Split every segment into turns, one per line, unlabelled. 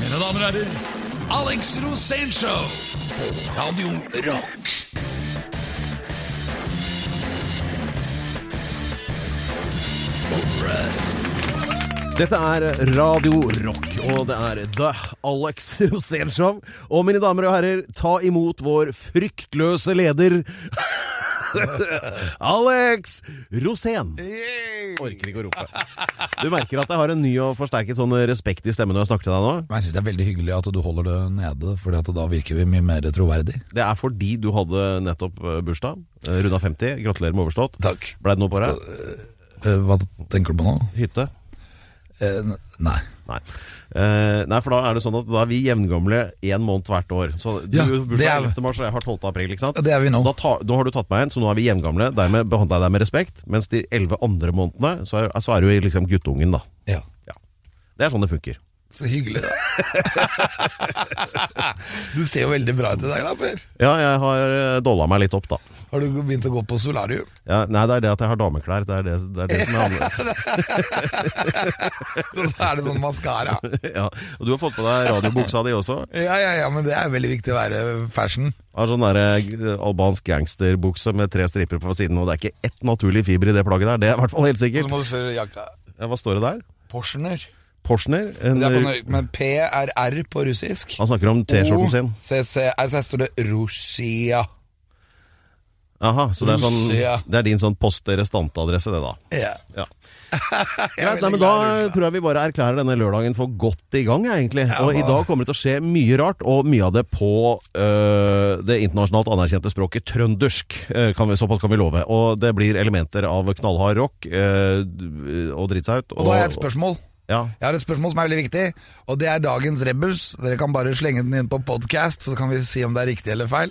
Mine damer og herrer, Alex Rosénshow på Radio Rock.
Dette er Radio Rock, og det er The Alex Rosén Show. Og mine damer og herrer, ta imot vår fryktløse leder Alex Rosén. Orker ikke å rope. Du merker at jeg har en ny og forsterket sånn respekt i stemmen når jeg snakker til deg nå?
Men jeg synes det er veldig hyggelig at du holder det nede, Fordi at da virker vi mye mer troverdig.
Det er fordi du hadde nettopp eh, bursdag. eh, Runda 50. Gratulerer med overstått.
Takk.
Ble det noe på deg?
Eh, Hva tenker du på nå?
Hytte?
Eh, n- nei.
Nei. Eh, nei, for da er det sånn at da er vi jevngamle én måned hvert år. Så du
Ja,
har
det
bursdag
er-
11. mars, og jeg har 12. april. ikke sant?
Ja, Det er vi nå.
Da ta, nå har du tatt meg en, så nå er vi jevngamle. Dermed behandler jeg deg med respekt. Mens de elleve andre månedene, så er, så er du liksom guttungen, da.
Ja.
Ja. Det er sånn det funker.
Så hyggelig, da. du ser jo veldig bra ut i dag, da, Per.
Ja, jeg har eh, dolla meg litt opp, da.
Har du begynt å gå på solarium?
Ja, nei, det er det at jeg har dameklær. Det er det, det, er det som er annerledes.
Og så er det sånn maskara.
Ja. Og du har fått på deg radiobuksa di også.
Ja, ja, ja, men det er veldig viktig å være fashion.
Har sånn derre eh, albansk gangsterbukse med tre striper på siden. Og det er ikke ett naturlig fiber i det plagget der. Det er i hvert fall helt
Og så
sikkert.
må du se jakka.
Ja, Hva står det der?
Porschener.
Porschner? En,
Det er på nøy- men PRR på russisk.
han snakker om
Oh.
T-skjorten sin.
OCCR, så her står det Russia.
Aha, så det er,
Mm,
sånn,
Russia.
det er din sånn post restante-adresse, det, da.
Ja.
Ja.
Jeg er
Greit, nei,
veldig
men
glad i
Da
Russia.
tror jeg vi bare erklærer denne lørdagen for godt i gang, jeg, egentlig. Og I dag kommer det til å skje mye rart, og mye av det på øh, det internasjonalt anerkjente språket trøndersk. øh, kan vi, såpass kan vi love. Og det blir elementer av knallhard rock øh, og drite seg ut.
Og da har jeg et spørsmål.
Ja.
Jeg har et spørsmål som er veldig viktig, og det er dagens Rebels. Dere kan bare slenge den inn på podcast, så kan vi si om det er riktig eller feil.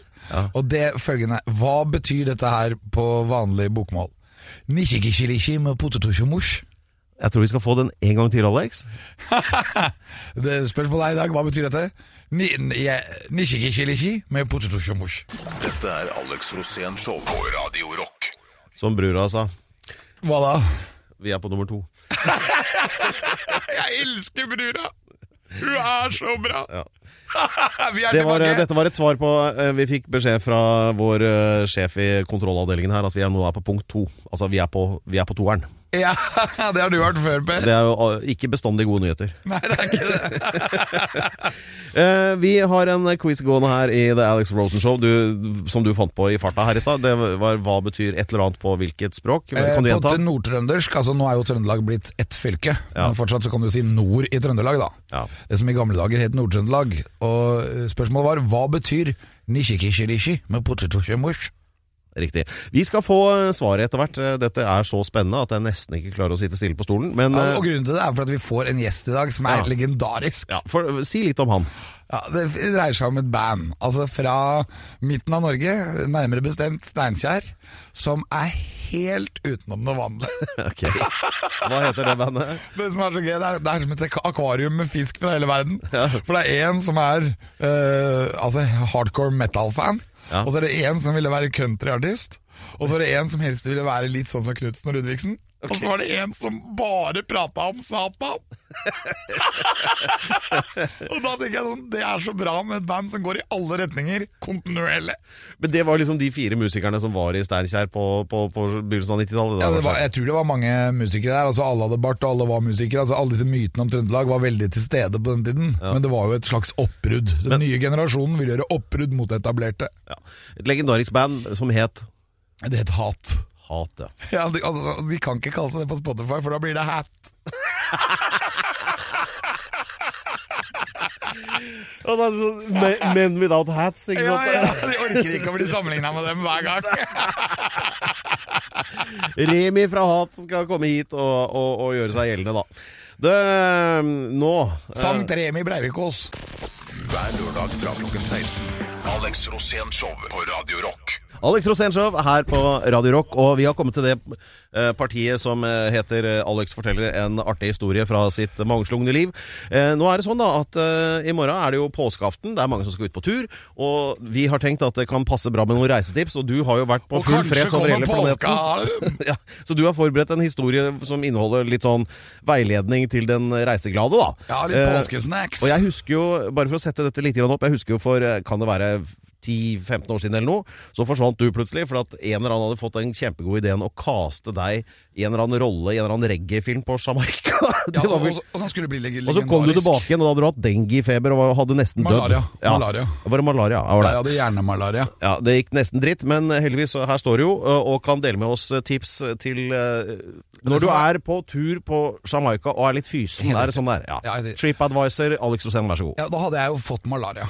Og det er følgende Hva betyr dette her på vanlig bokmål? Nishikichilishi med potetosjomosh.
Jeg tror vi skal få den en gang til, Alex.
Det Spørsmålet er i dag, hva betyr dette? Ni- ni- jeg- Nishikichilishi med potetosjomosh.
Dette er Alex Rosén Show på Radio Rock.
Som brura sa.
Hva da?
Vi er på nummer to.
Jeg elsker brura! Hun er så bra!
Ja.
vi er
Det var, eh,
tilbake!
dette var et svar på eh, Vi fikk beskjed fra vår eh, sjef i kontrollavdelingen her at vi er nå er på punkt to. Altså, vi er på, vi er på toeren.
Ja, det har du hørt før, Per.
Det er jo eh, ikke bestandig gode nyheter.
Nei, det er ikke det.
Eh, vi har en quiz gående her i The Alex Rosen Show du, som du fant på i farta her i stad. Det var hva betyr et eller annet på hvilket språk? Kan du
Eh,
gjenta?
På nordtrøndersk, altså nå er jo Trøndelag blitt ett fylke,
Ja.
men fortsatt så kan du si nord i Trøndelag, da.
Ja.
Det som i gamle dager het Nord-Trøndelag. Og eh, spørsmålet var hva betyr nishikishirishi med potetosjemosh?
Riktig. Vi skal få eh, svaret etter hvert. Eh, Dette er så spennende at jeg nesten ikke klarer å sitte stille på stolen. Men eh,
Og grunnen til det er for at vi får en gjest i dag som er
Ja.
legendarisk.
ja, for, si litt om han.
Ja, det f- dreier seg om et band, altså fra midten av Norge, nærmere bestemt Steinkjer, som er helt utenom det vanlige.
Ok. Hva heter det bandet?
Det som er så gøy, det er, det er som et ak- akvarium med fisk fra hele verden. For det er en som er eh, altså hardcore metal-fan,
Ja.
og så er det en som ville være countryartist, og så er det en som helst ville være litt sånn som Knutsen og Ludvigsen. Og så var det en som bare prata om Satan! og da tenker jeg sånn, det er så bra med et band som går i alle retninger, kontinuerlig.
Men det var liksom de fire musikerne som var i Steinkjer på, på, på begynnelsen av 90-tallet? da,
Ja, det var,
kanskje?
jeg tror det var mange musikere der. Altså Alle hadde bart, og alle var musikere. Altså Alle disse mytene om Trøndelag var veldig til stede på den tiden. Men det var jo et slags oppbrudd. Den nye generasjonen vil gjøre oppbrudd mot det etablerte.
ja. Et legendarisk band som het
Det het hat.
Hat, ja.
Ja, de, altså, de kan ikke kalle seg det på Spotify, for da blir det hat.
Men without hats, ikke
Ja, ja, De orker ikke å bli sammenligna med dem hver gang.
Remi fra Hat skal komme hit og, og, og gjøre seg gjeldende, da. Det, nå eh,
Sankt Remi Breivikås.
Hver lørdag fra klokken 16. Alex Rosén Show på Radio Rock.
Alex Rosénshow her på Radio Rock, og vi har kommet til det eh, partiet som eh, heter eh, Alex forteller en artig historie fra sitt mangslungne liv. Eh, Nå er det sånn da at eh, i morgen er det jo påskeaften, det er mange som skal ut på tur, og vi har tenkt at det kan passe bra med noen reisetips, og du har jo vært på
Og
full
kanskje
fres over
kommer
hele planeten.
påska!
Ja, så du har forberedt en historie som inneholder litt sånn veiledning til den reiseglade, da.
Ja, litt
Eh,
påskesnacks.
og jeg husker jo, bare for å sette dette litt grann opp, jeg husker jo for, eh, kan det være 10-15 år siden eller noe, så forsvant du plutselig, for at en eller annen hadde fått den kjempegode ideen å kaste deg i en eller annen rolle i en eller annen reggae-film på Jamaica.
Ja,
Det
og,
var
og,
vel...
og sånn skulle det bli leg-
Og så kom du
legendarisk.
tilbake igjen, og da hadde du hatt denguefeber og var- hadde nesten dødd.
Malaria. Malaria.
Var det malaria? Ja, var
Ja,
det.
jeg hadde hjernemalaria.
Ja, det gikk nesten dritt, men eh, heldigvis, så her står det jo, eh, og kan dele med oss tips til eh, Når du
som er-
er på tur på Jamaica og er litt fysen, er det sånn der?
Ja,
Ja.
jeg-
TripAdvisor, Alex Rosén, vær så god.
Ja, da hadde jeg jo fått malaria.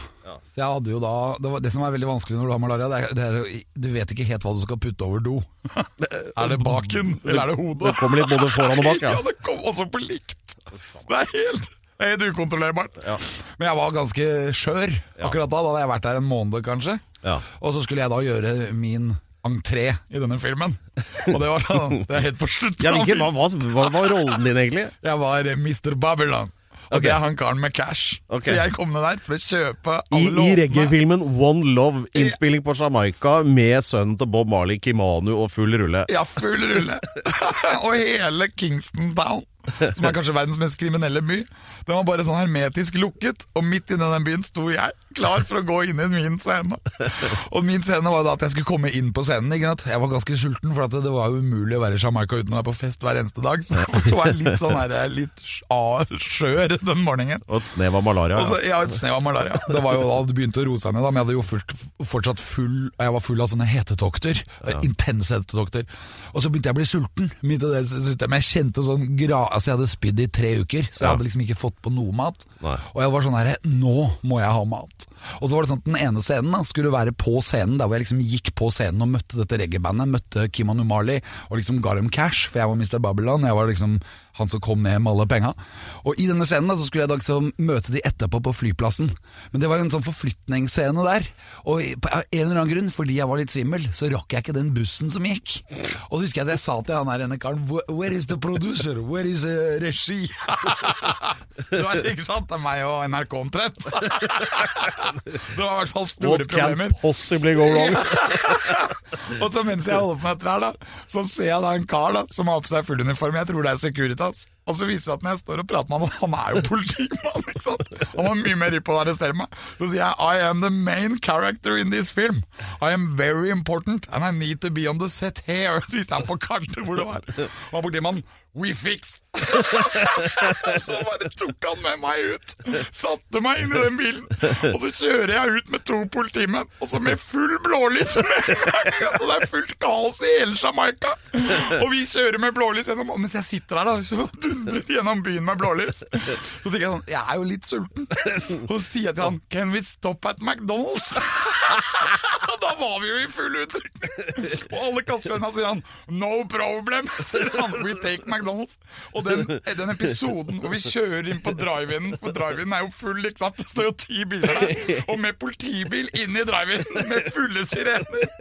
Så jeg hadde jo da, det, var, det som er veldig vanskelig når du har malaria, det er, det er jo- du vet ikke helt hva du skal putte over do. er det baken, eller er det hodet?
Det kommer litt både foran og bak, ja.
Ja, det kom også på likt! Det er helt, det er helt ukontrollerbart. Men jeg var ganske skjør akkurat da. Da hadde jeg vært der en måned, kanskje.
Ja.
Og så skulle jeg da gjøre min entré i denne filmen. Og det var da, det er helt på slutten. altså.
Ja,
av
hvilken, hva,
filmen.
hva, hva var rollen din egentlig?
Jeg var Mr. Babylon. Og
Ok.
det er han karen med cash.
Ok.
Så jeg kom ned der for å kjøpe
I,
alle
i reggae-filmen One Love, innspilling på Jamaica med sønnen til Bob Marley, Kimanu og full rulle.
Ja, full rulle. og hele Kingston Town, som er kanskje verdens mest kriminelle by, den var bare sånn hermetisk lukket, og midt inne i den byen sto jeg, klar for å gå inn i min scene. Og min scene var da at jeg skulle komme inn på scenen. ikke sant? Jeg var ganske sulten, for at det var jo umulig å være i Jamaica uten å være på fest hver eneste dag. Så jeg var litt sånn her, jeg er litt sj- ah, skjør den morgenen.
Og et snev av malaria.
Og så- ja, et snev av malaria. Det var jo da det begynte å roe seg ned, da, men jeg hadde jo fullt, fortsatt full Jeg var full av sånne hetetokter. Intense hetetokter. Og så begynte jeg å bli sulten. midt i det systemet. Jeg kjente sånn gra... Altså, jeg hadde spydd i tre uker, så jeg
Ja.
hadde liksom ikke fått på noe mat.
Nei.
Og jeg var sånn herre Nå må jeg ha mat. Og så var det sånn at den ene scenen da skulle være på scenen, der hvor jeg liksom gikk på scenen og møtte dette reggae-bandet. Møtte Kimanu Marley og liksom ga dem cash, for jeg var Mr. Babylon. Jeg var liksom han som kom ned med alle penga. Og i denne scenen da så skulle jeg da liksom møte de etterpå på flyplassen. Men det var en sånn forflytningsscene der. Og i- på en eller annen grunn, fordi jeg var litt svimmel, så rakk jeg ikke den bussen som gikk. Og så husker jeg at jeg sa til han her ene karen "Where- Where is the producer? Where is eh, regi? Det var ikke sant, det er meg og NRK omtrent. Det var i hvert fall store
What can
problemer.
possibly go wrong?
Og så mens jeg holder på med dette her, da, så ser jeg da en kar da, som har på seg full uniform. Jeg tror det er Securitas. Og så viser det seg at når jeg står og prater med han, han er jo politimann, ikke sant? Han var mye mer hypp på å arrestere meg. Så sier jeg I am the main character in this film. I am very important and I need to be on the set here. Så viste han på kartet hvor det var. Og han borti mannen We fix! så bare tok han med meg ut. Satte meg inn i den bilen. Og så kjører jeg ut med to politimenn, og så med full blålys med en gang. Og det er fullt kaos i hele Jamaica. Og vi kjører med blålys gjennom og Mens jeg sitter der, da, så dundrer vi gjennom byen med blålys. Så tenker jeg sånn Jeg er jo litt sulten. Og så sier jeg til han Can we stop at McDonald's? Og da var vi jo i full utrykning! Og alle kaster unna, sier han. No problem! sier han. We take McDonald's. Og den, den episoden hvor vi kjører inn på drive-in, for drive-in er jo full, ikke sant? Det står jo ti biler der. Og med politibil inn i drive-in med fulle sirener.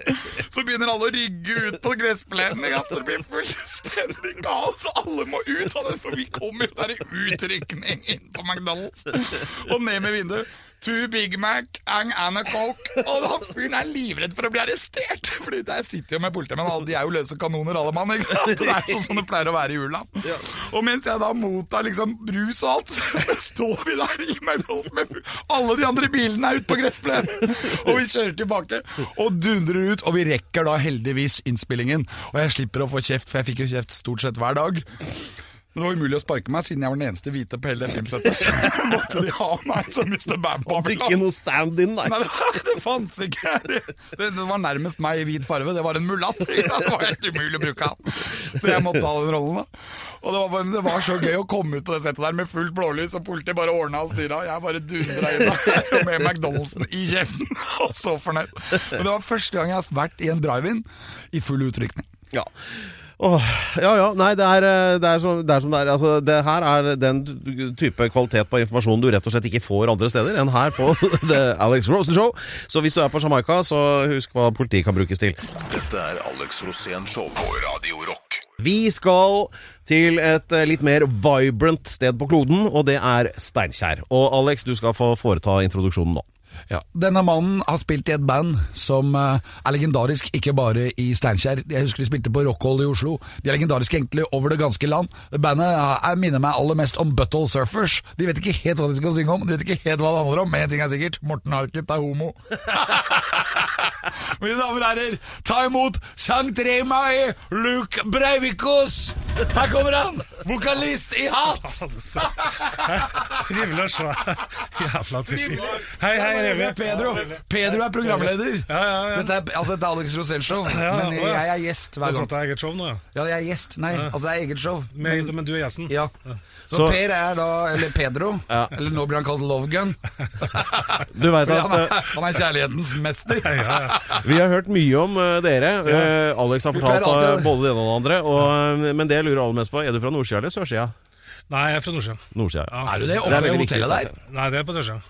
Så begynner alle å rygge ut på gressplenen. ikke sant? Så det blir fullstendig kaos, og alle må ut av den, for vi kommer jo der i utrykning inn på McDonald's. Og ned med vinduet. Two Big Mac ang, and a Coke. Og han fyren er livredd for å bli arrestert! Fordi der sitter jo med politiet, men alle- de er jo løse kanoner alle mann. ikke sant? Det er jo sånn det pleier å være i jula. Og mens jeg da mottar liksom brus og alt, så står vi der i McDonald's med Alle de andre bilene er ute på gressplenen! Og vi kjører tilbake og dundrer ut, og vi rekker da heldigvis innspillingen. Og jeg slipper å få kjeft, for jeg fikk jo kjeft stort sett hver dag. Men det var umulig å sparke meg, siden jeg var den eneste hvite på hele det filmsettet. Så måtte de ha meg som Mr. Bam Babylon.
Ikke noe stand-in, nei.
Nei, det, det fantes ikke. Det, det, det var nærmest meg i hvit farve. Det var en mulatt. Det var helt umulig å bruke han. Så jeg måtte ha den rollen, da. Og det var, bare- det var så gøy å komme ut på det settet der med fullt blålys, og politiet bare ordna og styra. Jeg bare dundra inn der med McDonald'sen i kjeften, og så fornøyd. Men det var første gang jeg har vært i en drive-in i full utrykning.
Ja. Åh, ja ja, nei det er, eh, det er, som, det er som det er. Altså, det her er den type kvalitet på informasjonen du rett og slett ikke får andre steder enn her på The Alex Rosen Show. Så hvis du er på Jamaica, så husk hva politiet kan brukes til.
Dette er Alex Rosén Show på Radio Rock.
Vi skal til et eh, litt mer vibrant sted på kloden, og det er Steinkjer. Og Alex, du skal få foreta introduksjonen nå.
Ja. Denne mannen har spilt i et band som eh, er legendarisk ikke bare i Steinkjer. Jeg husker de spilte på Rockhold i Oslo. De er legendariske egentlig over det ganske land. Bandet eh, er, minner meg aller mest om Butthole Surfers. De vet ikke helt hva de skal synge om, de vet ikke helt hva det handler om, men én ting er sikkert Morten Harket er homo. Mine damer og herrer, ta imot Sankt Remai Luke Breivikos! Her kommer han! Vokalist i hatt!
Trivelig å se deg. Jævla
Trivelig.
trivelig. Hei, hei,
Der var
Reve.
det Pedro. Pedro er programleder.
Ja, ja, ja.
Dette, er, altså, dette er Alex Rosell Show, men
å, ja.
jeg er gjest
Du har
hver gang.
fått deg eget show nå, ja.
Ja, jeg er gjest. Nei, altså det er eget show.
Men, men du er gjesten.
ja. Så,
Så-
Per er da, eller Pedro, eller nå blir han kalt Love Gun.
Du vet
Fordi
at
han er,
eh,
han er kjærlighetens mester.
Vi har hørt mye om eh, dere. Eh, Alex har
Vi
fortalt
pleier alltid-
eh, både det ene og det andre. Og, eh, men det jeg lurer aller mest på, er du fra nordsida eller sørsida?
Nei, jeg er fra Nordsjøen.
Nordsida.
Ja.
Er du det?
Det er
Oppe i
veldig viktig,
hotellet der?
synes
Nei, det er på Sørsjøen.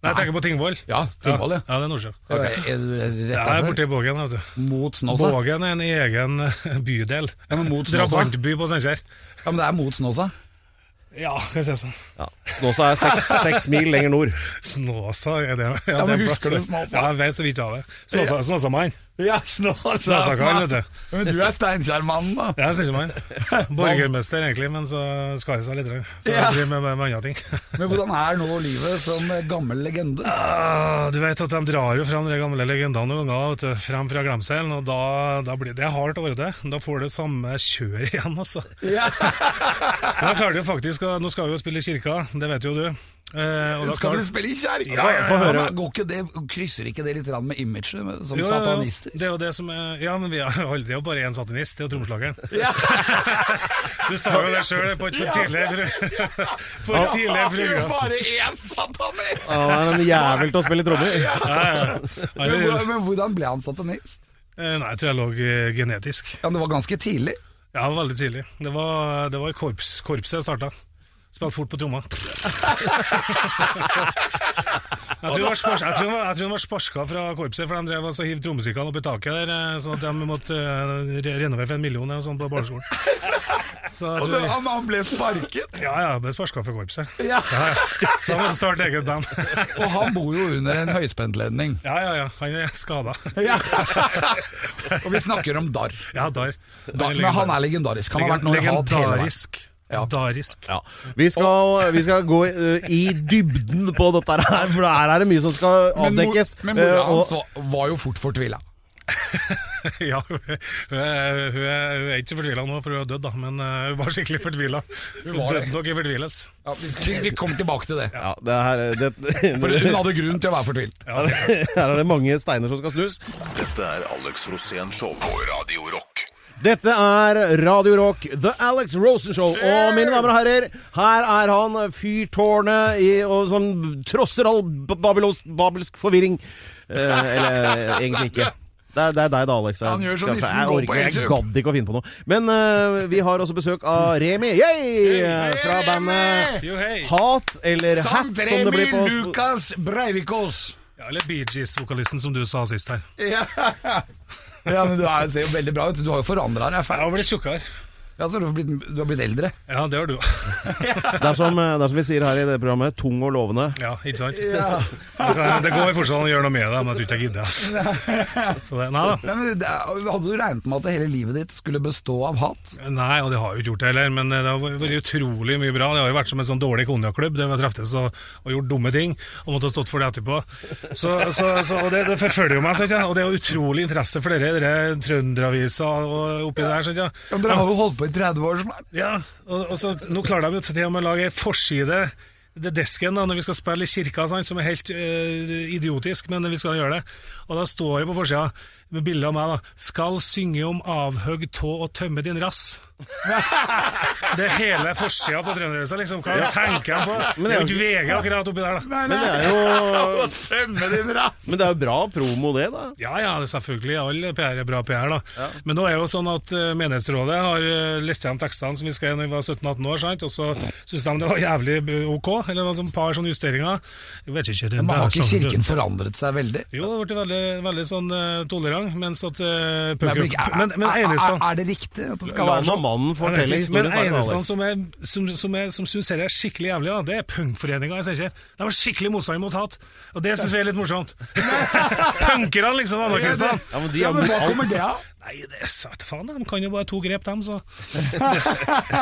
Nei, jeg tenker på Tingvoll.
Ja, Tingvoll, ja.
Ja, det er Nordsjøen.
Er du rett
Ja, jeg er borte i Bågen, vet du.
Mot Snåsa?
Bågen er en egen eh, bydel.
Ja, men mot Snåsa.
Drabantby på Steinkjer.
Ja, men det er mot Snåsa.
Ja, kan jeg si sånn.
Ja. Snåsa er seks, seks mil lenger nord.
Snåsa er det.
Ja, men
det er
husker
plass.
du Snåsa?
Ja, jeg vet så vidt av det. Snåsa- Snåsamann.
Ja, Snåsa.
Snåsakarl, vet du.
Men du er Steinkjer-mannen, da.
Ja, Snåsamann. Borgermester, egentlig, men så skar det seg litt. Så
Ja.
jeg driver med, med, med andre ting.
Men hvordan er nå livet som gammel legende?
Ah, Du vet at de drar jo fram de gamle legendene noen ganger, vet du, frem fra glemselen, og da, da blir det er hardt å være det. Da får du samme kjør igjen, altså.
Ja.
Men Da klarer du jo faktisk, å- Nå skal vi jo spille i kirka, det vet jo du. Eh, og da
Skal
klarer-
dere spille i kjerka?
Ja, ja, ja.
Ja, men går ikke det, krysser ikke det litt grann med imaget med- som
Jo, jo, jo.
satanister?
Det er jo det som er Ja, men vi har det er jo bare én satanist, det er jo trommeslageren.
Ja.
Du sa jo det sjøl på et for tidlig For tidlig
Det sånn. er jo
program.
bare én satanist!
Han er en jævel til å spille trommer.
Ja, ja.
Men, hvor-
Nei,
men hvordan ble han satanist?
jeg tror jeg lå eh, genetisk.
Ja, men Det var ganske tidlig.
Ja, veldig tidlig. Det var, det var i korps, korpset jeg starta. Spilte fort på tromma. Så- jeg tror hun var, spars, jeg tror hun var, jeg tror hun var sparska fra korpset, for de drev altså og så hiv trommesykkene opp i taket der, eh, sånn at de måtte eh, re- renovere for en million eller noe sånt på barneskolen. Så jeg
Og
tror,
det, han, han ble sparket!
ja, ja, jeg ble sparska fra korpset.
Ja.
Ja, ja. Så jeg måtte starte eget band.
Og han bor jo under en høyspentledning.
Ja, ja, ja. Han er skada.
Ja. Og vi snakker om Dar.
Ja, Dar.
Dar men han er legendarisk. Han har vært noe i hat hele veien.
Legendarisk.
Ja.
Darisk.
Ja. Vi, skal, vi skal gå eh, i dybden på dette her, for her er det mye som skal
Men, mor,
avdekkes.
men mora
eh, og-
hans var- var jo fort fortvila.
Ja, hun, hun, er, hun, er, hun er ikke så fortvila nå, for hun er død, da, men eh, hun var skikkelig fortvila. Hun
var det.
døde nok i fortvilelse.
Ja, vi, vi kommer tilbake til det.
ja, det her, eh, det,
For hun hadde grunn til å være fortvilt.
her er det mange steiner som skal snus.
Dette er Alex Rosén Show på Radio Rock.
Dette er Radio Rock, The Alex Rosen Show. Og mine damer og herrer, her er han, fyrtårnet i, og, som trosser all b- babylos- babelsk forvirring. Eh, eller egentlig ikke. Det er, det er deg da, Alex. Jeg-
Han gjør som
jeg-
nissen
jeg
går
orker
på
ikke, Jeg
YouTube.
gadd ikke å finne på noe. Men eh, vi har også besøk av Remi Yay! Eh, fra bandet
Jo, hei!
Hat, eller Hat, som
Sankt
det
Remi
blir på
Lukas Breivikås.
Ja, eller Bee Gees-vokalisten som du sa sist her.
Ja. ja, men du er, ser jo veldig bra ut. Du har jo forandra deg.
Jeg har blitt tjukkere.
Ja, så du, har blitt, du har blitt eldre.
Ja, det har du.
Det er, som, eh, det er som vi sier her i det programmet, tung og lovende.
Ja, ikke sant? Det kan- Det går fortsatt an å gjøre noe med det, men jeg tror ikke jeg gidder. Altså. Så det, nei da.
Nei, men det er- hadde du regnet med at hele livet ditt skulle bestå av hat?
Nei, og det har jeg jo ikke gjort det heller, men eh, det har vært utrolig mye bra. Det har jo vært som en sånn dårlig konjakklubb, der vi har treftes og, og gjort dumme ting, og måtte ha stått for det etterpå. Så, så, så, og det, det forfølger jo meg, sant, ja. og det er jo utrolig interesse for dere, dere trønderavisa og oppi der. Sant, ja.
Ja, men dere har jo holdt på i 30 år. Sånn.
Ja, og, og så nå klarer de jo til og med å lage en forside det desken da, når vi skal spille i kirka, sant, som er helt eh, idiotisk, men vi skal gjøre det. Og da står det på forsida med bilde av meg, da. 'Skal synge om avhøgg tå og tømme din rass'. Det er hele forsida på Trønderhuset, liksom. Hva tenker jeg på?
Men
det
det
er jo ikke VG akkurat oppi der, da.
Men det er jo,
Tømme din rass!
men det er jo bra promo, det, da.
Ja ja, det er selvfølgelig. All PR er bra PR, da. Men nå er jo sånn at eh, menighetsrådet har eh, lest gjennom tekstene som vi skrev da vi var 17-18 år, sant? og så syntes de det var jævlig eh, ok. Eller det var sånn par sånne justeringer. Jeg vet ikke, det er
Men har
bare
ikke
sånn-
kirken forandret seg veldig?
Jo, det ble veldig, veldig sånn eh, tolerant, mens at eh,
Men,
punker-
er,
Men, men
er,
eneste
er, er det riktig at det skal
La
være
nå
sånn?
mannen
Jeg vet
fortelle
ikke, Men
historien. ferdig,
eneste
Alex.
som, er, som, som, er, som syns dette er skikkelig jævlig, da, det er punkforeninga i Steinkjer. De har skikkelig motstand mot hat, og det syns vi er litt morsomt. Punkerne, liksom, anarkistene.
Ja, men de
Ja,
er
men
mot
hva
alt.
kommer det av?
Nei, det er sant faen, de kan jo bare to grep, dem, så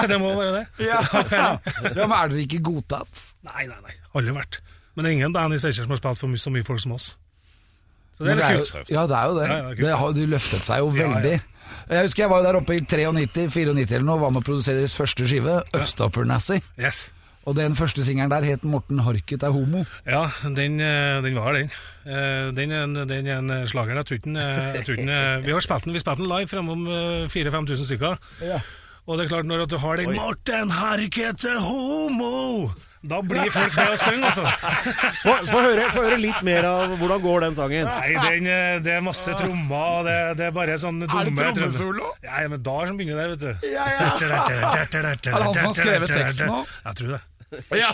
Det må være det.
Ja. ja, men er dere ikke godtatt?
Nei, nei, nei. Aldri vært. Men det er ingen band i Steinkjer som har spilt for my- så mye folk som oss. Så det
Men
er
det er
litt
jo-
kult.
Ja, det er jo det.
Ja, ja, kult.
det har, de løftet seg jo
Ja, ja.
veldig. Jeg husker jeg var jo der oppe i 93-94 eller noe, var med å produsere deres første skive, Østapernassi.
Yes.
Og den første singelen der het Morten Harket er homo.
Ja, den, eh, den var den. Eh, Den er en, den er en eh, slager. Jeg tror ikke den, eh, jeg tror ikke den eh, Vi har spilt den, vi spilte den live framom 4000-5000 stykker. Og det er klart, når at du har den 'Morten Harkete homo', da blir folk med og synger, altså.
Få få høre, få høre litt mer av hvordan går den sangen.
Nei, den, eh, det er masse trommer, og det, det er bare sånn dumme trommer.
trommesolo?
Ja, ja, men da er som begynner der, vet du.
Ja, ja. Er det han som har skrevet teksten nå?
Jeg tror det.
Ja.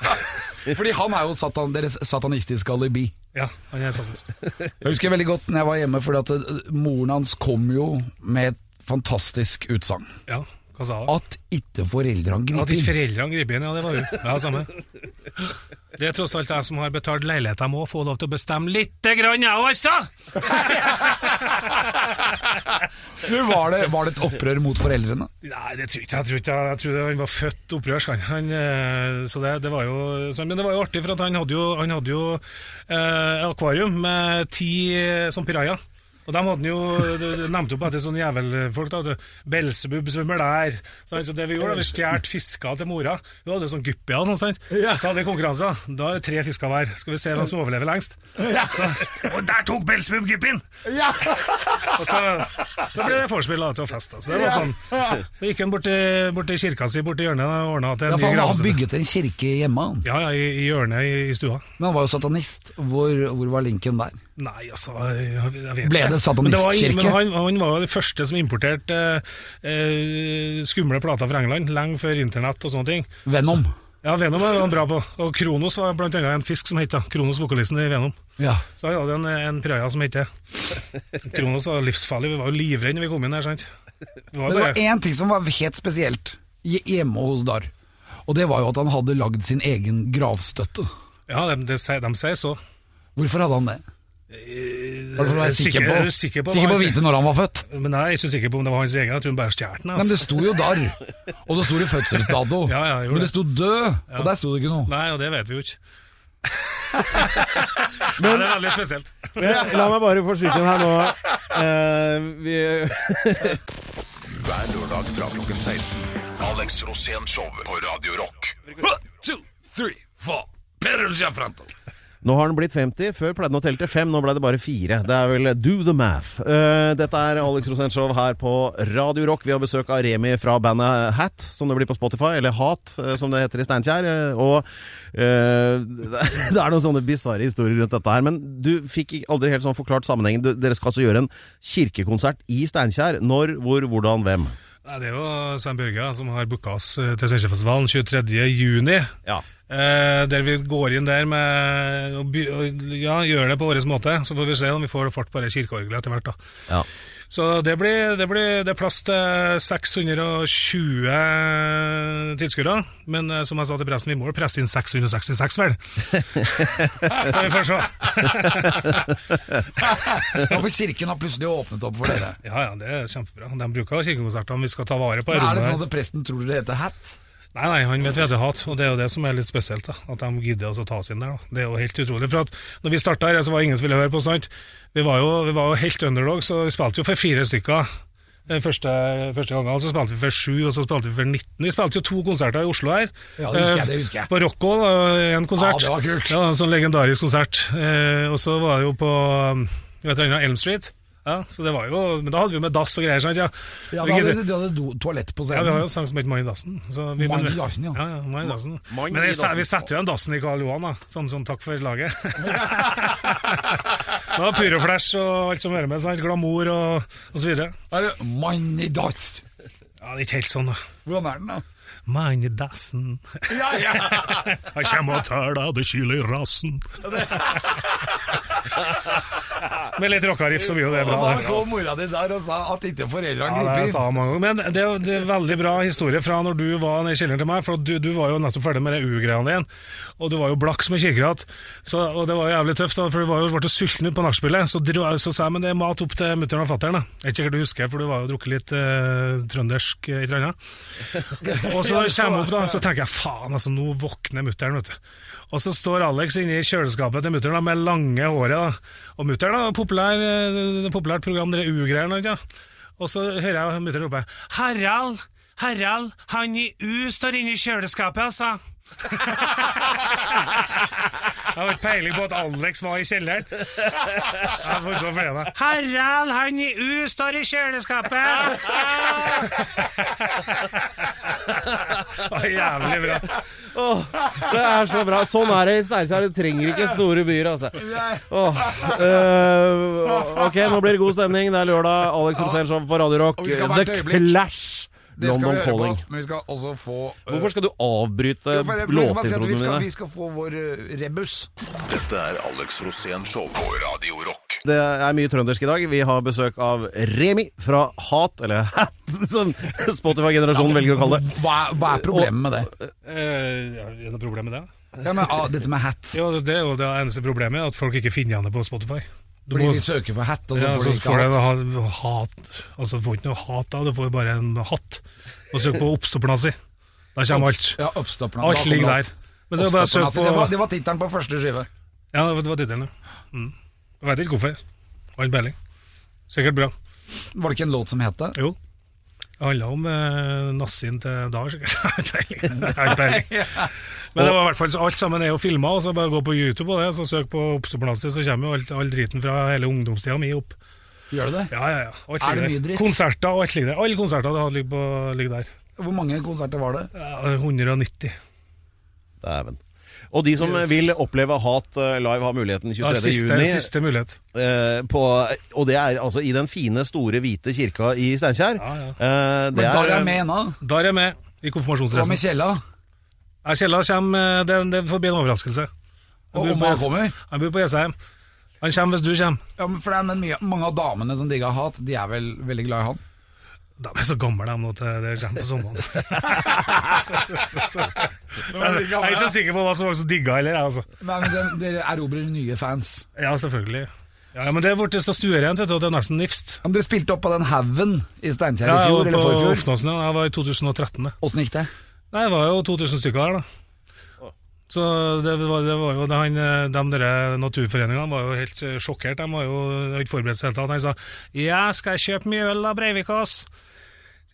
Fordi han er jo satan, deres satanistiske alibi.
Ja, han er satanist.
Jeg husker veldig godt når jeg var hjemme, fordi at eh, moren hans kom jo med et fantastisk utsagn.
Ja, hva sa han?
At ikke foreldrene
At ikke
griper inn.
foreldrene griper inn, ja, det var hun. Ja, samme. Det er tross alt jeg som har betalt leilighet, jeg må få lov til å bestemme lite grann, jeg også!
Du, Var det, var det et opprør mot foreldrene?
Nei, det tror jeg ikke. Jeg tror, ikke, jeg tror han var født opprørsk, han. han eh, så det, det var jo, sånn, men det var jo artig, for at han hadde jo, han hadde jo eh, akvarium med ti eh, sånn pirajaer. Og de hadde han jo de, de nevnte opp etter sånne jævelfolk. da, vet du. Belsebub svømmer der. sant? Så det vi gjorde, da, vi stjal fisker til mora. Hun hadde sånn guppia og sånn. sant? Så hadde vi konkurranser. Da er det tre fisker hver. Skal vi se hvem som overlever lengst. Så, og der tok Belsebub guppien! Og så, så ble det vorspiel da, til å feste. Så, det var sånn. så gikk han bort til, bort til kirka si borti hjørnet og ordna til
Ja,
en
for
ny
han har
gravstue.
bygget en kirke hjemme, han.
Ja, ja, i, i hjørnet i, i stua.
Men han var jo satanist. Hvor, hvor var linken der?
Nei, altså jeg, jeg vet
Ble det
ikke. Men var-
satanistkirke?
Men han, han var jo den første som importerte eh, eh, skumle plater fra England, lenge før internett og sånne ting.
Venom.
Ja, Venom var han bra på. Og Kronos var blant annet en fisk som het da. Kronos, vokalisten i Venom.
Ja.
Så han hadde en, en praia som het det. Kronos var livsfarlig. Vi var jo livredde når vi kom inn her, sant. Det var
Men det
bare
var én ting som var helt spesielt hje- hjemme hos Dar. Og det var jo at han hadde lagd sin egen gravstøtte.
Ja, de, de, sier- de sier så.
Hvorfor hadde han det? Var det for å være sikker på,
Eh, er du sikker på,
sikker
hva
på å
han-
vite når han var født?
Men nei, jeg er ikke sikker på om det var hans egen. Jeg tror han bare stjal den.
Men
Altså.
det sto jo Dar, og så sto det fødselsdato.
Ja, ja, gjorde
men
det.
det sto død, og der sto det ikke noe.
Nei, og det vet vi jo ikke. Men, det er veldig spesielt.
Men, la meg bare få skyte inn her nå. Eh, vi,
Hver lørdag fra klokken 16. Alex Rosén Show på Radio Rock.
Nå har han blitt 50. Før pleide han å telle til fem, nå ble det bare fire. Det er vel do the math. Eh, dette er Alex Rosenshov her på Radio Rock. Vi har besøk av Remi fra bandet Hat, som det blir på Spotify, eller Hat, eh, som det heter i Steinkjer. Eh, Og eh, det er noen sånne bisarre historier rundt dette her. Men du fikk ikke- aldri helt sånn forklart sammenhengen. Du- Dere skal altså gjøre en kirkekonsert i Steinkjer. Når, hvor, hvordan, hvem?
Nei, det er jo Svein Børge altså, som har booka oss eh, til Steinkjerfestivalen 23. juni.
Ja.
Eh, der vi går inn der med og, by- og Ja, gjør det på vår måte. Så får vi se om vi får fart på det kirkeorgelet etter hvert, da.
ja.
Så det blir, det blir det er plass til 620 tilskuere. Men eh, som jeg sa til pressen, vi må jo presse inn 666, vel? Så vi får se.
Ja, for kirken har plutselig åpnet opp for dere.
Ja ja, det er kjempebra. De bruker kirkekonsertene vi skal ta vare på.
Men
i
er
rommet
det
her.
sånn at presten tror dere heter Hat?
Nei, nei, han vet vedehat, og det er jo det som er litt spesielt. da, At de gidder altså å ta oss inn der. da. Det er jo helt utrolig. For at når vi starta her, så var det ingen som ville høre på oss. sant? Vi var jo, vi var jo helt underdog, så vi spilte jo for fire stykker. Den første, første gangen så spilte vi for sju, og så spilte vi for 19. Vi spilte jo to konserter i Oslo her.
Ja, det husker jeg,
Eh,
det husker jeg.
På Rocco, da, en
Ja,
konsert.
det var kult.
Ja, en sånn legendarisk konsert. Eh, og så var det jo på um, vet du, Elm Street. Ja, så det var jo, men da hadde vi jo med dass og greier. Sant, ja.
Ja,
Vi
da hadde
gidder-
de hadde do, toalett på
ja, Vi har jo
scenen.
en sang som heter Mann i dassen. så vi-
Mann i dassen, ja.
ja, ja Mann i dassen.
Mann
Men
i
jeg, sa-
dassen.
vi setter jo en dassen i Karl Johan, da. Sånn, sånn takk for laget. det var pyroflash og alt som hører med. Sant? Glamour og, og så videre.
Er det Mann i dass!
Ja, det er ikke helt sånn, da.
Hvordan er den, da?
Mann i dassen.
Ja, ja.
Han kommer og tar deg, det kiler i rassen. Med litt rockariff så blir jo det
Og
bra.
da
det.
kom mora di der og sa at ikke foreldrene
Ja, det
griper
sa
inn.
jeg mange ganger. Men det er, det er veldig bra historie fra når du var nede i kjelleren til meg, for at du, du var jo nettopp ferdig med de U-greiene dine, og du var jo blakk som en kirkeratt, Så- og det var jo jævlig tøft, da, for du var jo, ble jo sulten ut på nachspielet, så, dro jeg- så sa jeg, men det er mat opp til mutteren og fatteren, da. Det er ikke sikkert du husker, for du var jo drukket litt eh, trøndersk eh, et eller annet. Og så når jeg kommer opp da, så tenker jeg, faen altså, nå våkner mutteren, vet du. Og så står Alex inne i kjøleskapet til mutteren da, med lange håret da. Og mutteren da, populær, eh, populært program, dere U-greiene, ikke sant? Og så hører jeg mutter'n rope 'Harald! Harald! Han i U står inne i kjøleskapet, altså!' jeg har ikke peiling på at Alex var i kjelleren. Jeg får gå og flere meg. 'Harald! Han i U står i kjøleskapet!' Det var Jævlig bra.
Åh, det er så bra. Sånn er det i Steinkjer. Du trenger ikke store byer, altså. Åh, øh, ok, nå blir det god stemning. Det er lørdag. Alex Rosén Show på Radio Rock.
Og vi skal hvert
The
øyeblikk.
Clash.
Det skal
London
vi høre
Calling.
på, men vi skal også få uh,
eh,
Hvorfor skal du avbryte
Jo, for jeg skal liksom bare si at vi
låtintroene
skal-
dine?
Vi skal få vår
eh,
uh, rebus.
Dette er Alex Rosén Show på Radio Rock.
Det er mye trøndersk i dag. Vi har besøk av Remi fra Hat, eller Hat, som Spotify-generasjonen velger å kalle det.
Hva, hva er problemet med det?
Eh, ja, er det noe problem med det?
Ja, men, ah, dette med hat.
Ja, det er jo det eneste problemet, at folk ikke finner henne på Spotify. Du
Fordi
må-
de søker på hat, og så
Ja,
får
så
de ikke
får
hat.
du ha- hat Altså, du får ikke noe hat da, du får bare en hatt. Og søk på oppstoppernazzi. Da kommer alt.
Ja, oppstopperne. Da
Alt
kommer
ligger
alt.
der. Men Ah, det er bare å søke
Oppstopperne, altså,
på
Det var, det var tittelen på første skive.
Ja, det var tittelen, ja. Mm. Jeg veit ikke hvorfor. Har ikke peiling. Sikkert bra.
Var det ikke en låt som het det?
Jo. Det handla om eh, nazien til da, sikkert. Jeg har ikke peiling. Jeg har ikke peiling. Men det var i hvert fall så alt sammen er jo filma, så bare gå på YouTube og det, så søk på oppstoppernazzi, så kommer jo alt, all driten fra hele ungdomstida mi opp.
Gjør det det?
Ja, ja, ja. Alt
Er det
ligger der.
mye dritt?
Konserter og alt ligger der. Alle konserter det hadde ligget på, ligger der.
Hvor mange konserter var det?
Ja, 190.
Dæven. Og de som vil oppleve Hat eh, live, har muligheten 23.
Ja, siste,
juni.
siste mulighet.
eh, på, og det er altså i den fine, store, hvite kirka i Steinkjer.
Ja, ja.
Eh, det
Men
er,
der er jeg med ennå.
Da er jeg med
Hva
i konfirmasjonsdressen.
med Kjella?
Ja, Kjella kommer, eh, det, det får bli en overraskelse.
Og
bor
om
på
han
Jessheim.
kommer?
Han bor på Jessheim. Han kommer hvis du kommer.
Ja, men for det er men mye, Mange av damene som digger hat, de er vel veldig glad i han.
De er så gamle, de nå, til det kommer på sommeren. jeg er ikke så sikker på hva som var så digga heller, jeg, altså.
Nei, men de- Dere erobrer nye fans.
Ja, selvfølgelig. Ja, men det er blitt så stuerent, vet du, at det er nesten nifst.
Ja, men dere spilte opp på den haugen i Steinkjer
Ja,
i
jeg
fjor,
var
eller
på
forfjor.
Hofnåsen, ja. Jeg var i 2013, det.
Åssen gikk det?
Nei, det var jo 2000 stykker her, da. Så det var, det var jo det han, eh, De der naturforeningene var jo helt eh, sjokkert. De var jo de hadde ikke forberedt seg i det hele tatt. Han sa ja, skal jeg kjøpe mye øl av Breivikås?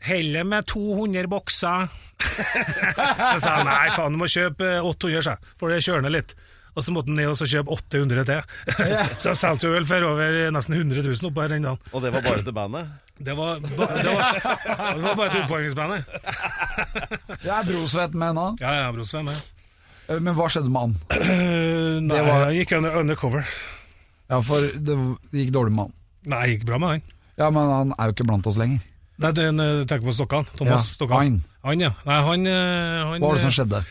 Heller med 200 bokser. så sa han nei, faen, du må kjøpe eh, 800, sa jeg. For det kjørende litt. Og så måtte han ned og så kjøpe 800 til. så jeg solgte jo øl for over eh, nesten 100 000 oppå her den dagen.
og det var bare til bandet.
Det var, ba, det var, det var bare til oppvarmingsbandet.
Jeg er brosvett med ennå.
Ja, ja, Brosveien, ja.
Eh, Men hva skjedde med han?
Eh, nei,
Det var-
han gikk under, undercover.
Ja, for det det gikk dårlig med han.
Nei, det gikk bra med han.
Ja, men han er jo ikke blant oss lenger.
Nei, den, eh, tenker på Stokkan. Thomas
Ja,
Stokkan.
han.
Han, ja. Nei, han, eh, han
Hva var det som
eh,
skjedde?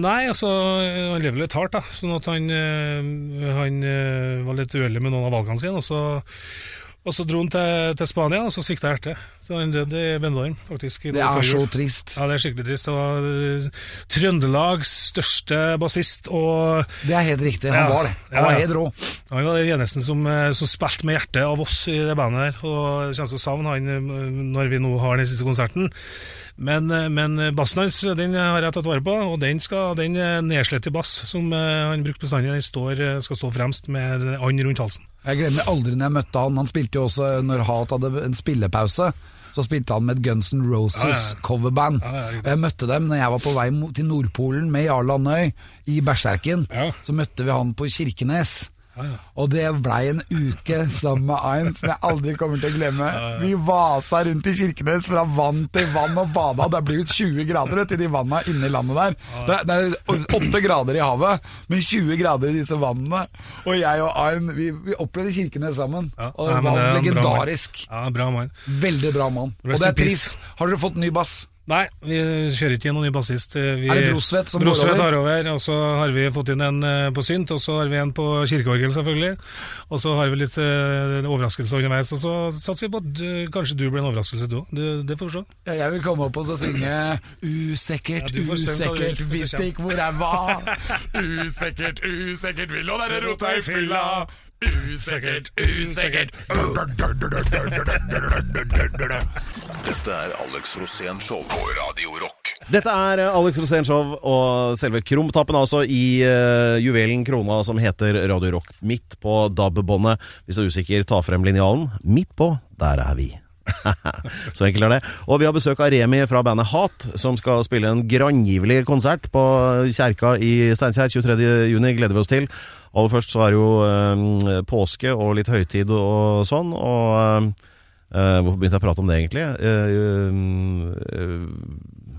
Nei, altså, eh, han lever litt hardt, da. Sånn at han, eh, han eh, var litt uheldig med noen av valgene sine, og så, og så dro han til, til Spania, og så svikta hjertet. Så han døde i Bendelorm, faktisk. i
Det
dag
er
før
så
jul.
trist.
Ja, det er skikkelig trist. Det var eh, Trøndelags største bassist, og
Det er helt riktig. Han
Ja.
var det. Han
Ja,
var
ja.
helt rå.
Han var den eneste som, eh, som spilte med hjertet av oss i det bandet her, og jeg kjenner så savn han eh, når vi nå har den siste konserten. Men, eh, men bassen hans den har jeg tatt vare på, og den, skal, den er nedslitt i bass som eh, han brukte bestandig. Den står, eh, skal stå fremst med en and rundt halsen.
Jeg glemmer aldri når jeg møtte han. Han spilte jo også når Hat hadde en spillepause. Så spilte han med et Guns N' Roses
Ja, ja.
coverband.
Ja, ja, riktig.
Og jeg møtte dem når jeg var på vei mo- til Nordpolen med Jarl Andøy i Berserken.
Ja.
Så møtte vi han på Kirkenes. Og det blei en uke sammen med Ayn som jeg aldri kommer til å glemme. Vi vasa rundt i Kirkenes fra vann til vann og bada. Det blir jo 20 grader vet, du, i de vanna inni landet der. Det er, det er 8 grader i havet, men 20 grader i disse vannene. Og jeg og Ayn, vi, vi opplevde Kirkenes sammen.
Ja,
Og
nei,
det
men
var
det er en bra mann.
legendarisk.
Ja, bra mann.
Veldig bra mann. Og
Rest
det
in
er
peace.
trist. Har dere fått ny bass?
Nei, vi kjører ikke inn noen ny bassist. Eh, Vi,
Er det Brosvedt som går
Brosvedt
over?
tar over? Og så har vi fått inn en eh, på synt, og så har vi en på kirkeorgel, selvfølgelig. Og så har vi litt eh, overraskelser underveis, og så satser vi på at du- kanskje du blir en overraskelse, du òg. Det får vi se.
Ja, jeg vil komme opp og så synge Usikkert,
Ja, du får synge hva du
usikkert,
vil, hvis du
visste
kommer.
ikke hvor jeg var. Usikkert, usikkert, vil nå dere rota i fylla. Usikkert, usikkert.
Dette er Alex Rosén Show på Radio Rock.
Dette er eh, Alex Rosén Show og selve krumtappen altså i eh, juvelen krona som heter Radio Rock. Midt på DAB-båndet. Hvis du er usikker, ta frem linjalen. Midt på, der er vi. Så enkelt er det. Og vi har besøk av Remi fra bandet Hat, som skal spille en grangivelig konsert på eh, Kjerka i Steinkjer 23.6. Gleder vi oss til. Aller først så er det jo eh, påske og litt høytid og sånn. Og eh, hvorfor begynte jeg å prate om det, egentlig? Eh, eh,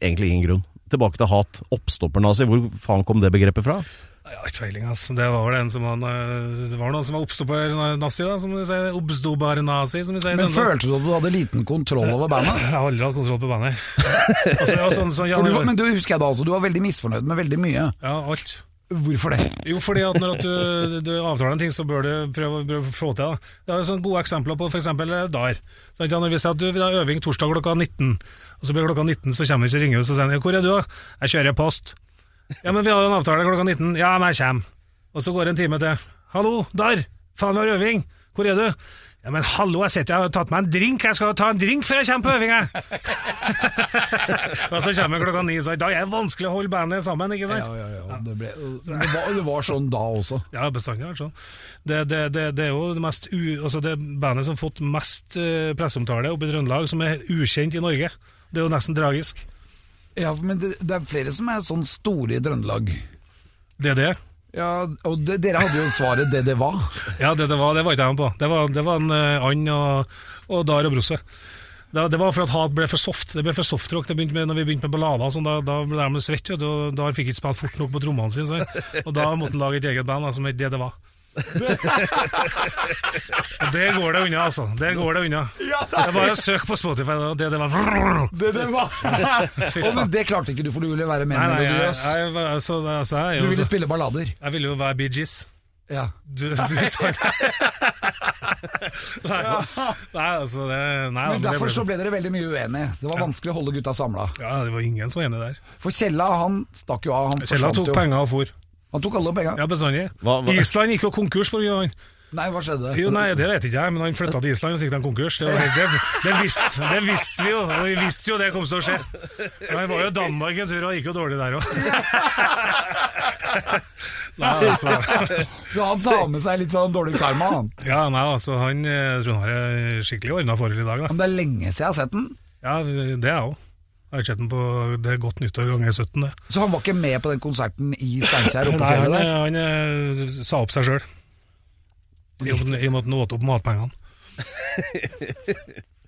egentlig ingen grunn. Tilbake til hat. Oppstoppernazi, hvor faen kom det begrepet fra?
Ja, ikke peiling, ass. Det var vel en som var, det var noen som var oppstopper-nazi, eh, da, som de sier. Obstobar-nazi, som de sier. i
Men
Trøndelag.
følte du at du hadde liten kontroll over bandet?
Jeg har aldri hatt kontroll på bandet. Altså, ja, sånn, sånn, ja,
For du, var- men du husker jeg da også, du var veldig misfornøyd med veldig mye.
ja, alt.
Hvorfor det?
Jo, fordi at når at du, du avtaler en ting, så bør du prøve, prøve å få til. Da. Det er jo sånne gode eksempler på f.eks. DAR. Sånn, ja, når vi sier at du vil ha øving torsdag klokka 19, og så blir klokka 19, så kommer vi ikke og ringer oss og sier «Ja, 'Hvor er du', da? 'Jeg kjører post'. 'Ja, men vi har jo en avtale klokka 19.' 'Ja, men jeg kommer'. Og så går det en time til. 'Hallo, DAR! Faen, vi har øving! Hvor er du?' 'Ja, men hallo, jeg sitter jeg har tatt meg en drink, jeg skal ta en drink før jeg kommer på øving', jeg'. og så kommer klokka ni, så da er det vanskelig å holde bandet sammen, ikke sant?
Ja, ja, ja. Det, ble, det, var, det var sånn da også.
Ja, bestandig har vært sånn. Det, det, det, det er jo det, mest u, altså det bandet som har fått mest eh, presseomtale oppe i Trøndelag, som er ukjent i Norge. Det er jo nesten tragisk.
Ja, men det, det er flere som er sånn store i Trøndelag.
Det er det.
Ja, og det, dere hadde jo svaret det det var.
Ja, det, det, var, det var ikke jeg med på. Det var, det var en eh, and og, og Dar og Brosse. Det, det var for at hat ble for soft. Det ble for softrock. Det begynte med, når vi begynte med ballader, og sånn, da, da ble de svette, vet du, og Dar fikk ikke spille fort nok på trommene sine. sant? Og da måtte han lage et eget band da, som het Det det var. Og Der går det unna, altså. Der går det unna. det er bare å søke på Spotify. da, Det det var
Det det var!
Fy
Og men
faen.
det klarte ikke du, for du ville være mer
Nei, nei, jeg,
melodiøs.
jeg, jeg, altså, altså, jeg, er
Du
jo
ville
så-
spille ballader.
jeg ville jo være Bee Gees.
Ja.
Du, du sa det. Nei, nei, altså det, nei, da, men
Men
det
Derfor
ble-
så ble dere veldig mye uenige. Det var vanskelig å holde gutta samla.
Ja, det var ingen som var enig der.
For Kjella han stakk jo av. Han
Kjella
forsvant
tok
jo.
penger og for.
Han tok alle penga.
Ja, bestandig.
Hva- hva-
Island gikk jo konkurs på grunn av han.
Nei, hva skjedde?
Jo, nei, det vet ikke jeg, men han flytta til Island og sikta en konkurs. Det, var helt- det, det, visste, det visste vi jo, og vi visste jo det kom til å skje. Men han var jo i Danmark en tur, og det gikk jo dårlig der òg. Nei, altså.
Så han tar med seg litt sånn dårlig karma, han.
Ja, nei, altså, han eh, tror han har eh, skikkelig ordna forhold i dag, da.
Men det er lenge siden jeg har sett den.
Ja, det er jeg òg. Jeg har ikke sett den på det er godt nyttår ganger 17, det.
Så han var ikke med på den konserten i Steinkjer oppe på
Nei, han,
fjellet der?
eh, han eh, sa opp seg sjøl. I og med i og med at han åt opp matpengene.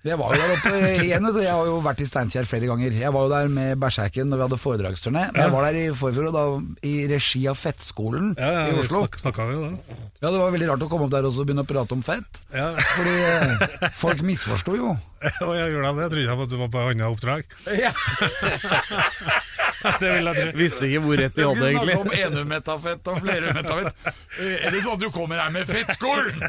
Jeg var jo der oppe igjen, vet du. Jeg har jo vært i Steinkjer flere ganger. Jeg var jo der med Berserken når vi hadde foredragsturné. Men jeg var der i forfjor, og da i regi av Fettskolen
Ja, ja,
i
vi
Oslo.
snak, snakka jo det.
Ja, det var veldig rart å komme opp der og så begynne å prate om fett.
Ja.
Fordi eh, folk misforsto jo.
Og jeg gjorde det, jeg trodde jeg at du var på et annet oppdrag.
Ja.
Det vil jeg tro.
Visste ikke hvor rett de hadde, egentlig.
om enumetafett og flerumetafett.
Eh,
Eller sånn at du kommer her med fettskolen!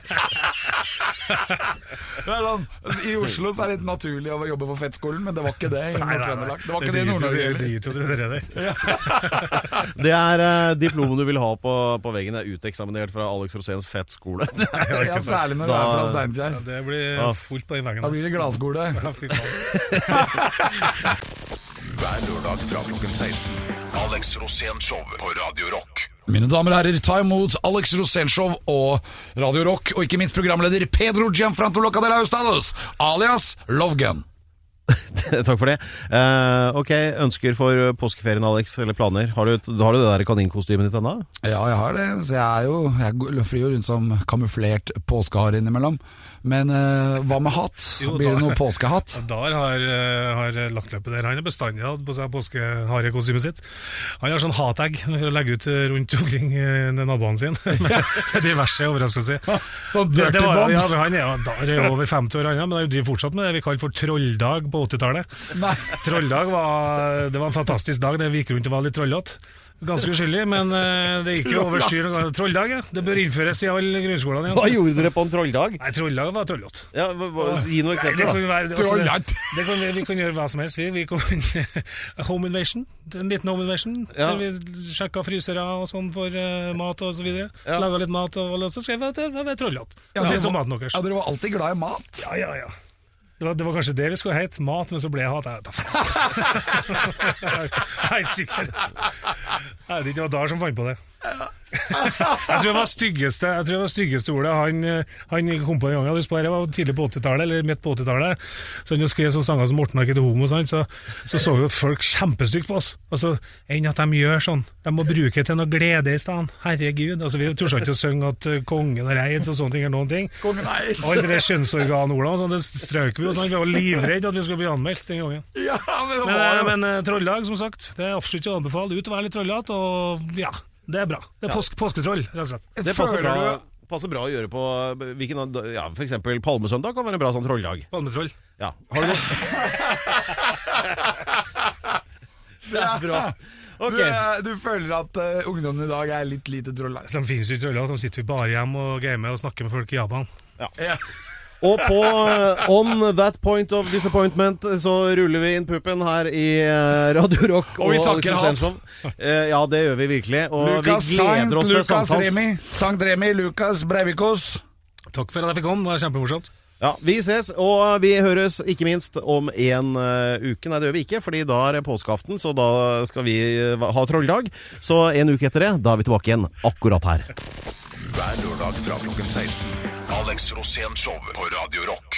Det er sånn,
I Oslo så er det litt naturlig å jobbe for Fettskolen, men det var ikke det i
Nei, nei, nei.
Nord-Trøndelag. Det var ikke det i
driter jo-
Nord-Norge
Det
heller.
driter jo til dere der.
Det er eh, diplomet du vil ha på, på veggen. Det er uteksaminert fra Alex Roséns fettskole.
Ja, særlig når du er
Da-
fra Steinkjer.
Ja, Det blir
Ja.
fullt på den
Da
veggen.
blir det glasskole.
Ja, fy faen.
Hver lørdag fra klokken 16. Alex Rosén Show på Radio Rock.
Mine damer og herrer, ta imot Alex Rosenshov og Radio Rock, og ikke minst programleder Pedro Gianfranco Locadela Austados, alias Love Gun.
Takk for det. Eh, ok, ønsker for påskeferien, Alex, eller planer? Har du, har du det der kaninkostymet ditt ennå?
Ja, jeg har det. Så jeg er jo Jeg går- flyr jo rundt som kamuflert påskehare innimellom. Men eh, hva med hatt?
Jo,
Blir det
da-
noe påskehatt?
Dar har, eh, har laktløpet der. Han har bestandig hatt på seg påskeharekostymet sitt. Han har sånn hatag for å legge ut eh, rundt omkring eh, naboene sine med, med diverse overraskelser.
Sånn
Det, det
Dirty
var, ja,
Bobs.
men han er jo Dar er jo over 50 år, han, ja, men han driver fortsatt med det vi kaller for trolldag på 80-tallet.
Nei.
Trolldag var, det var en fantastisk dag Det vi gikk rundt og var litt trollete. Ganske uskyldig, men eh, det gikk jo over styr. Trolldag, ja. Det bør innføres i alle grunnskolene
Hva
igjen.
gjorde dere på en trolldag?
Nei, trolldag var trollete.
Ja, hva- hva- gi noen
Nei, det kan
eksempler, da.
jo være, altså, det,
langt.
det kan, vi- vi kan gjøre hva som helst. Vi, vi kan, home invasion. En liten home invasion.
Ja.
Der vi sjekka frysere og sånn for eh, mat og så videre.
Ja.
Laga litt mat, og, og så skrev jeg at det var trollete. Hva
men-
syns du om maten deres?
Ja, Dere var alltid glad i mat.
Ja, ja, ja. Det var, det var kanskje det vi skulle hete, mat, men så ble jeg hat. Jeg vet da faen. Jeg er ikke sikker. altså. Jeg vet ikke, det var Dar som fant på det. Jeg tror det var styggeste, jeg tror det var styggeste ordet han, eh, han kom på den gangen. Husk på, det var tidlig på 80-tallet, eller midt på 80-tallet. Så han jo skrev sånne sanger som 'Morten er ikke til homo', sant? så så så jo folk kjempestygt på oss. Altså, Enn at de gjør sånn. De må bruke det til noe glede i stedet. Herregud. Altså, vi turte ikke å synge at eh, kongen har reist og sånne ting. eller noen ting.
Kongen Eids.
Og alle de kjønnsorganordene, og sånn, det strøk vi jo. Sånn. Vi var livredde at vi skulle bli anmeldt den gangen.
Ja, men det
Men,
var
eh,
jo
men eh, trolldag, som sagt, det er absolutt å anbefale. Ut og være litt trollete, og ja. Det er bra. Det er påske, påsketroll, rett og slett.
Det passer
Føler
bra,
du-
passer bra å gjøre på eh, hvilken, av- ja, for eksempel Palmesøndag kan være en bra sånn trolldag.
Palmetroll.
Ja, har du noe? Det er bra.
Du,
Ok.
eh, du føler at eh, ungdommen i dag er litt lite trolla?
Så De finnes jo ikke trollete, de sitter jo bare hjemme og gamer og snakker med folk i Japan.
Og på eh, On That Point of Disappointment så ruller vi inn puppen her i eh, Radio Rock.
Og vi
Alex
takker han.
Rosensson. Eh, Ja, det gjør vi virkelig. Og
Lukas
vi gleder
Sankt,
oss til
Lukas
sankthans.
Remi, Sankt Remi, Lukas Breivikos.
Takk for at jeg fikk komme, det var kjempemorsomt.
Ja, Vi ses, og vi høres ikke minst om en eh, uke. Nei, det gjør vi ikke, fordi da er det påskeaften, så da skal vi eh, ha trolldag. Så en uke etter det, da er vi tilbake igjen akkurat her.
Hver lørdag fra klokken 16. Alex Rosén Show på Radio Rock.